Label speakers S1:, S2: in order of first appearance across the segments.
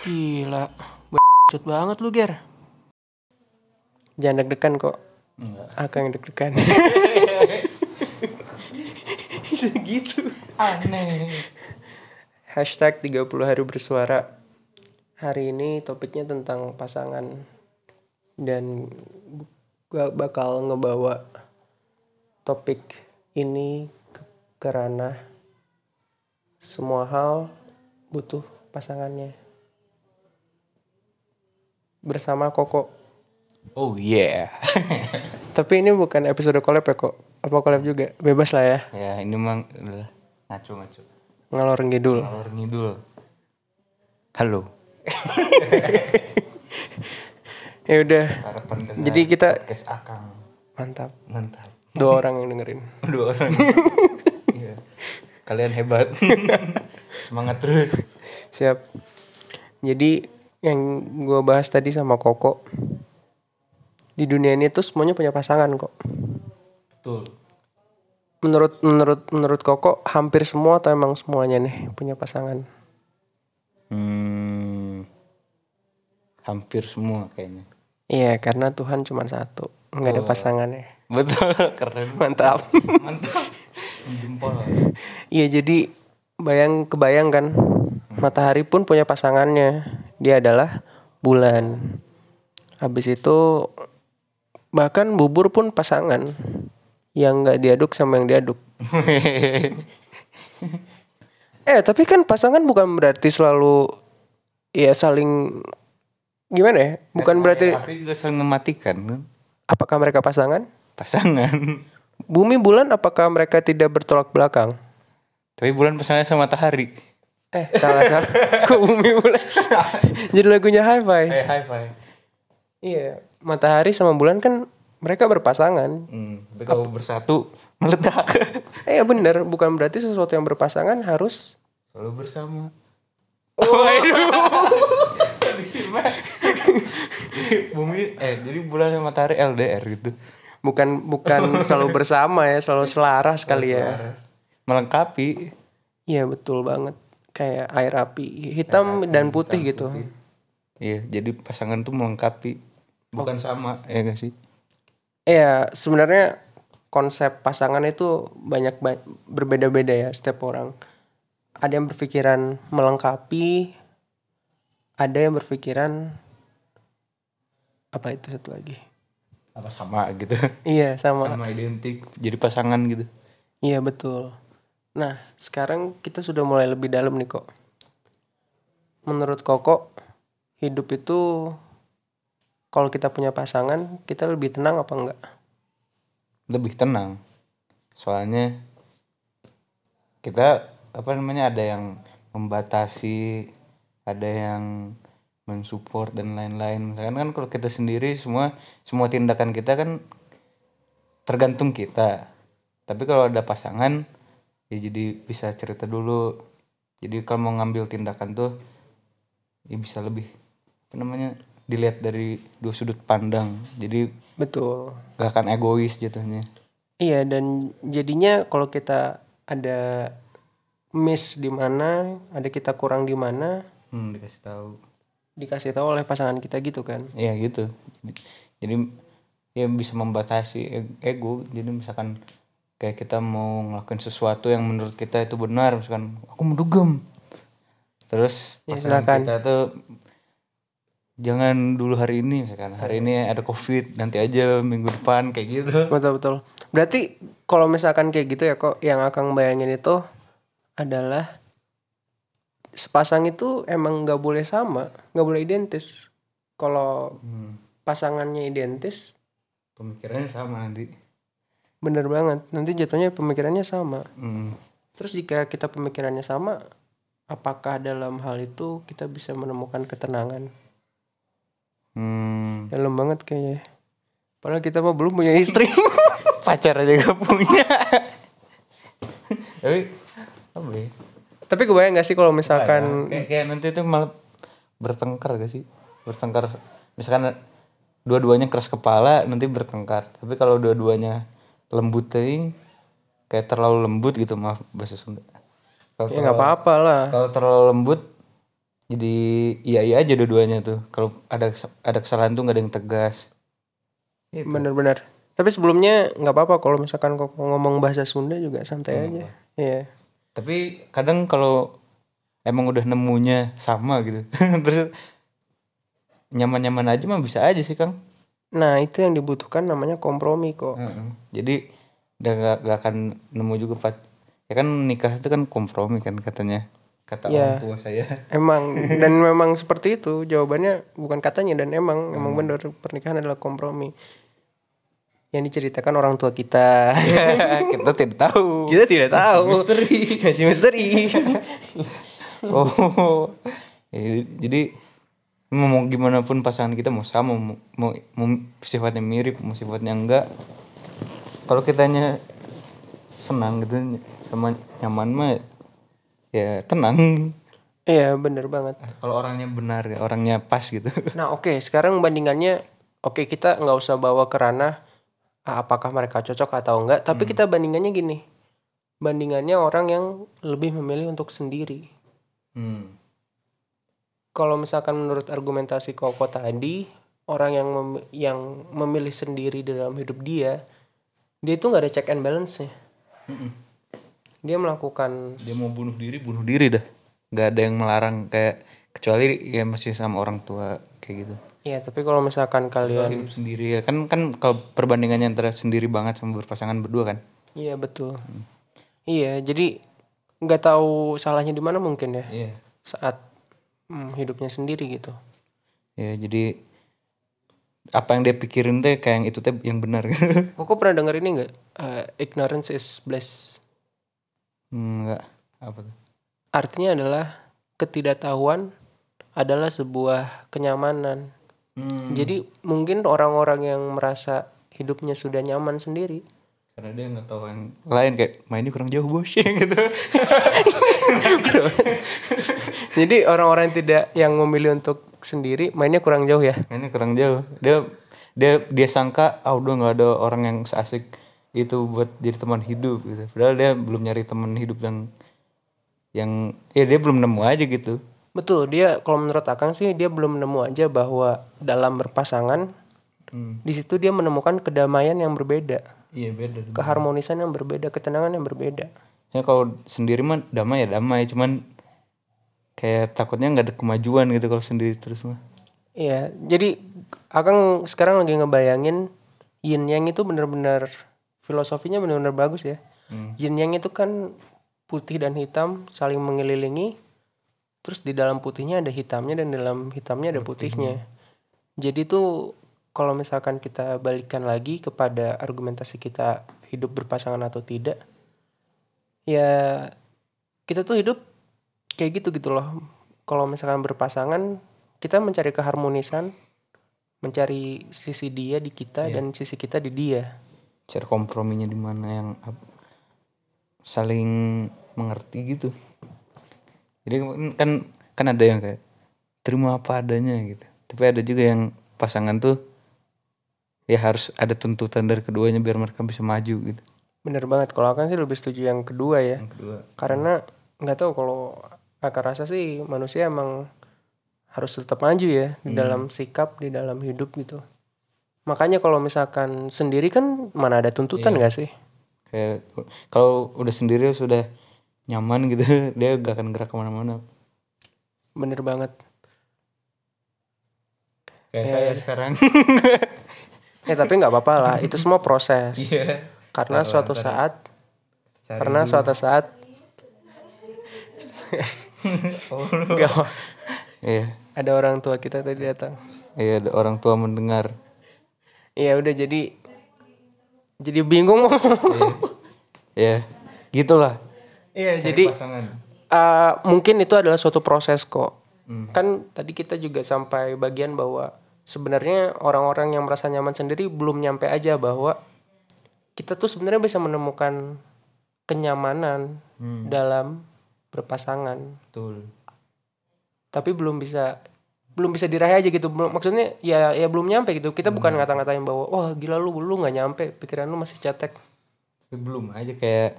S1: Gila, cut banget lu Ger. Jangan deg-degan kok,
S2: Enggak.
S1: Akang yang deg-degan. Segitu.
S2: Aneh.
S1: Hashtag 30 hari bersuara. Hari ini topiknya tentang pasangan dan gua bakal ngebawa topik ini ke, ke ranah semua hal butuh pasangannya. Bersama Koko.
S2: Oh yeah.
S1: Tapi ini bukan episode collab ya kok. Apa collab juga? Bebas lah ya.
S2: ya ini mang udah ngaco-ngaco.
S1: Ngalor ngidul.
S2: Ngalor ngidul. Halo.
S1: Ya udah,
S2: Para pendengar.
S1: Jadi kita-
S2: podcast Akang.
S1: mantap.
S2: Mantap.
S1: Dua orang yang dengerin.
S2: Dua orang. Iya. Kalian hebat. Semangat terus.
S1: Siap. Jadi yang gua bahas tadi sama Koko di dunia ini tuh semuanya punya pasangan kok.
S2: Betul.
S1: Menurut menurut menurut Koko hampir semua atau emang semuanya nih punya pasangan?
S2: Hmm. Hampir semua kayaknya.
S1: Iya karena Tuhan cuma satu, nggak ada pasangannya.
S2: Betul, keren.
S1: Mantap.
S2: Mantap. Jempol.
S1: Iya jadi bayang kebayang kan matahari pun punya pasangannya dia adalah bulan. Habis itu bahkan bubur pun pasangan yang nggak diaduk sama yang diaduk. Eh tapi kan pasangan bukan berarti selalu ya saling gimana ya? Bukan berarti
S2: Tapi juga sering mematikan kan?
S1: apakah mereka pasangan?
S2: pasangan.
S1: Bumi bulan apakah mereka tidak bertolak belakang?
S2: Tapi bulan pasangannya sama matahari.
S1: Eh salah salah. Kok bumi bulan? Jadi lagunya hi-fi.
S2: Hai hai hai.
S1: Iya, matahari sama bulan kan mereka berpasangan.
S2: Hmm, tapi kalau bersatu meledak.
S1: Eh ya bener, bukan berarti sesuatu yang berpasangan harus
S2: Kalau bersama. Oh. Waduh. Bumi eh jadi bulan sama matahari LDR gitu.
S1: bukan bukan selalu bersama ya, selalu selaras kali ya.
S2: Melengkapi
S1: Iya betul banget, kayak air api hitam dan putih gitu.
S2: Iya, jadi pasangan tuh melengkapi bukan sama ya gak sih?
S1: Iya, sebenarnya konsep pasangan itu banyak ba- berbeda-beda ya setiap orang. Ada yang berpikiran melengkapi, ada yang berpikiran apa itu satu lagi.
S2: Apa sama gitu.
S1: Iya, sama.
S2: Sama identik jadi pasangan gitu.
S1: Iya betul. Nah sekarang kita sudah mulai lebih dalam nih kok. Menurut Koko hidup itu kalau kita punya pasangan kita lebih tenang apa enggak?
S2: lebih tenang soalnya kita apa namanya ada yang membatasi ada yang mensupport dan lain-lain misalkan kan kalau kita sendiri semua semua tindakan kita kan tergantung kita tapi kalau ada pasangan ya jadi bisa cerita dulu jadi kalau mau ngambil tindakan tuh ya bisa lebih apa namanya dilihat dari dua sudut pandang jadi
S1: Betul.
S2: gak akan egois jatuhnya
S1: Iya dan jadinya kalau kita ada miss di mana, ada kita kurang di mana,
S2: Hmm, dikasih tahu.
S1: dikasih tahu oleh pasangan kita gitu kan?
S2: Iya gitu. Jadi, jadi ya bisa membatasi e- ego. Jadi misalkan kayak kita mau ngelakuin sesuatu yang menurut kita itu benar, misalkan aku mendugem. Terus
S1: Ya,
S2: pasangan
S1: silakan.
S2: kita tuh jangan dulu hari ini misalkan. Hari ini ada Covid, nanti aja minggu depan kayak gitu.
S1: Betul betul. Berarti kalau misalkan kayak gitu ya kok yang akan bayangin itu adalah sepasang itu emang nggak boleh sama, nggak boleh identis. Kalau
S2: Hmm,
S1: pasangannya identis,
S2: pemikirannya sama nanti.
S1: bener banget. Nanti jatuhnya pemikirannya sama.
S2: Hmm,
S1: Terus jika kita pemikirannya sama, apakah dalam hal itu kita bisa menemukan ketenangan?
S2: hmm.
S1: Dalam banget kayaknya. Padahal kita mah belum punya istri.
S2: pacar aja gak punya. Tapi apa ya?
S1: Tapi kebayang gak sih kalau misalkan
S2: kayak, kayak nanti tuh malah bertengkar gak sih bertengkar misalkan dua-duanya keras kepala nanti bertengkar tapi kalau dua-duanya lembut teuing kayak
S1: Iya.
S2: terlalu lembut gitu maaf bahasa Sunda kalau
S1: ya nggak apa-apa lah.
S2: kalau terlalu lembut jadi iya iya aja dua-duanya tuh kalau ada kes- ada kesalahan tuh nggak ada yang tegas Gitu.
S1: bener-bener tapi sebelumnya nggak apa-apa kalau misalkan kok ngomong bahasa Sunda juga santai aja iya
S2: tapi kadang kalau emang udah nemunya sama gitu terus nyaman-nyaman aja mah bisa aja sih kang
S1: nah itu yang dibutuhkan namanya kompromi kok
S2: jadi udah nggak nggak akan nemu juga pak ya kan nikah itu kan kompromi kan katanya kata orang
S1: Iya.
S2: tua saya
S1: Emang dan memang seperti itu jawabannya bukan katanya dan emang emang benar pernikahan adalah kompromi yang diceritakan orang tua kita
S2: kita tidak tahu
S1: kita tidak tahu misteri Iya. masih misteri
S2: oh Ya, jadi mau gimana pun pasangan kita mau sama mau, mau, mau sifatnya mirip mau sifatnya enggak kalau kitanya senang gitu sama nyaman mah ya tenang
S1: iya bener banget
S2: kalau orangnya benar ya, orangnya pas gitu
S1: nah oke sekarang bandingannya oke kita nggak usah bawa ke ranah ah, apakah mereka cocok atau enggak tapi kita bandingannya gini bandingannya orang yang lebih memilih untuk sendiri
S2: hmm.
S1: kalau misalkan menurut argumentasi Koko tadi orang yang mem- yang memilih sendiri di dalam hidup dia dia itu nggak ada check and balance nya dia melakukan
S2: dia mau bunuh diri bunuh diri dah nggak ada yang melarang kayak kecuali ya masih sama orang tua kayak gitu
S1: ya tapi kalau misalkan kalian
S2: hidup sendiri ya kan kan kalau perbandingannya antara sendiri banget sama berpasangan berdua kan
S1: iya betul iya jadi nggak tahu salahnya di mana mungkin ya
S2: iya
S1: saat mm, hidupnya sendiri gitu
S2: ya jadi apa yang dia pikirin teh kayak yang itu teh yang benar gitu
S1: Koko pernah dengar ini nggak Eh, ignorance is bliss
S2: enggak Hmm, apa tuh
S1: artinya adalah ketidaktahuan adalah sebuah kenyamanan
S2: Hmm,
S1: Jadi mungkin orang-orang yang merasa hidupnya sudah nyaman sendiri.
S2: karena dia nggak tahu yang lain kayak main ini kurang jauh bos gitu
S1: Jadi orang-orang yang tidak yang memilih untuk sendiri mainnya kurang jauh ya.
S2: ini kurang jauh dia dia dia sangka ah udah nggak ada orang yang seasik itu buat jadi teman hidup gitu padahal dia belum nyari teman hidup yang yang ya dia belum nemu aja gitu
S1: Betul, dia kalau menurut Akang sih dia belum nemu aja bahwa dalam berpasangan di situ dia menemukan kedamaian yang berbeda,
S2: Hmm. iya beda
S1: keharmonisan yang berbeda, ketenangan yang berbeda.
S2: ya kalau sendiri mah damai ya damai cuman kayak takutnya nggak ada kemajuan gitu kalau sendiri terus mah
S1: Iya, jadi Akang sekarang lagi ngebayangin yin yang itu bener-bener filosofinya bener-bener bagus ya.
S2: Hmm.
S1: Yin yang itu kan putih dan hitam saling mengelilingi. Terus di dalam putihnya ada hitamnya dan di dalam hitamnya ada putihnya. Jadi tuh kalau misalkan kita balikan lagi kepada argumentasi kita hidup berpasangan atau tidak, ya kita tuh hidup kayak gitu gitu loh. Kalau misalkan berpasangan, kita mencari keharmonisan, mencari sisi dia di kita dan sisi kita di dia.
S2: cari komprominya di mana yang ap- saling mengerti gitu jadi kan- kan kan ada yang kayak terima apa adanya gitu tapi ada juga yang pasangan tuh ya harus ada tuntutan dari keduanya biar mereka bisa maju gitu
S1: Bener banget. Kalau akan sih lebih setuju yang kedua ya.
S2: yang kedua
S1: karena nggak tahu kalau akar rasa sih manusia emang harus tetap maju ya di
S2: Hmm.
S1: dalam sikap di dalam hidup gitu makanya kalau misalkan sendiri kan mana ada tuntutan
S2: Iya.
S1: nggak sih
S2: kayak kalau udah sendiri sudah nyaman gitu dia gak akan gerak kemana-mana
S1: bener banget
S2: kayak
S1: Ya,
S2: saya sekarang
S1: ya tapi nggak apa-apa lah itu semua proses
S2: Iya.
S1: karena
S2: Taruh
S1: suatu
S2: antara-
S1: saat karena suatu saat nggak apa-
S2: iya
S1: ada orang tua kita tadi datang
S2: iya ada orang tua mendengar
S1: ya udah jadi jadi bingung
S2: ya gitulah
S1: Iya jadi Uh, mungkin itu adalah suatu proses kok. Kan tadi kita juga sampai bagian bahwa sebenarnya orang-orang yang merasa nyaman sendiri belum nyampe aja bahwa kita tuh sebenarnya bisa menemukan kenyamanan dalam berpasangan,
S2: betul
S1: tapi belum bisa belum bisa diraih aja gitu. Belum- Maksudnya ya ya belum nyampe gitu. Kita bukan ngata-ngatain bahwa wah gila lu lu nggak nyampe, pikiran lu masih cetek.
S2: belum aja kayak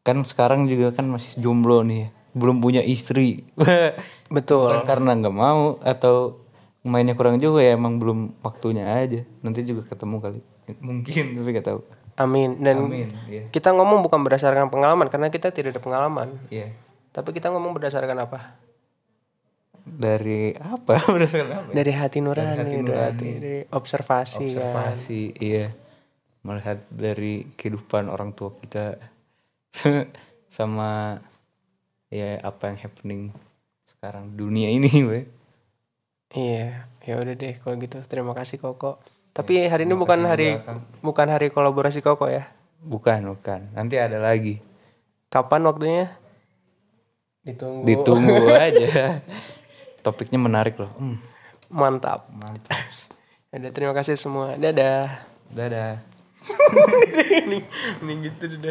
S2: kan sekarang juga kan masih jomblo nih ya. belum punya istri
S1: betul
S2: Bukan karena nggak mau atau mainnya kurang juga ya emang belum waktunya aja nanti juga ketemu kali mungkin tapi nggak tahu
S1: amin dan
S2: amin iya
S1: kita ngomong bukan berdasarkan pengalaman karena kita tidak ada pengalaman
S2: Iya.
S1: tapi kita ngomong berdasarkan apa
S2: dari apa berdasarkan apa ya?
S1: dari hati nurani dari, dari observasi, kan.
S2: observasi iya melihat dari kehidupan orang tua kita sama ya apa yang happening sekarang dunia ini weh.
S1: Iya, ya udah deh kalau gitu terima kasih Koko. Tapi hari ini bukan hari bukan hari kolaborasi Koko ya.
S2: bukan bukan nanti ada lagi
S1: Kapan waktunya? Ditunggu.
S2: ditunggu aja topiknya menarik loh Hmm,
S1: Mantap.
S2: mantap
S1: Udah terima kasih semua. Dadah.
S2: dadah
S1: Ini gitu dadah.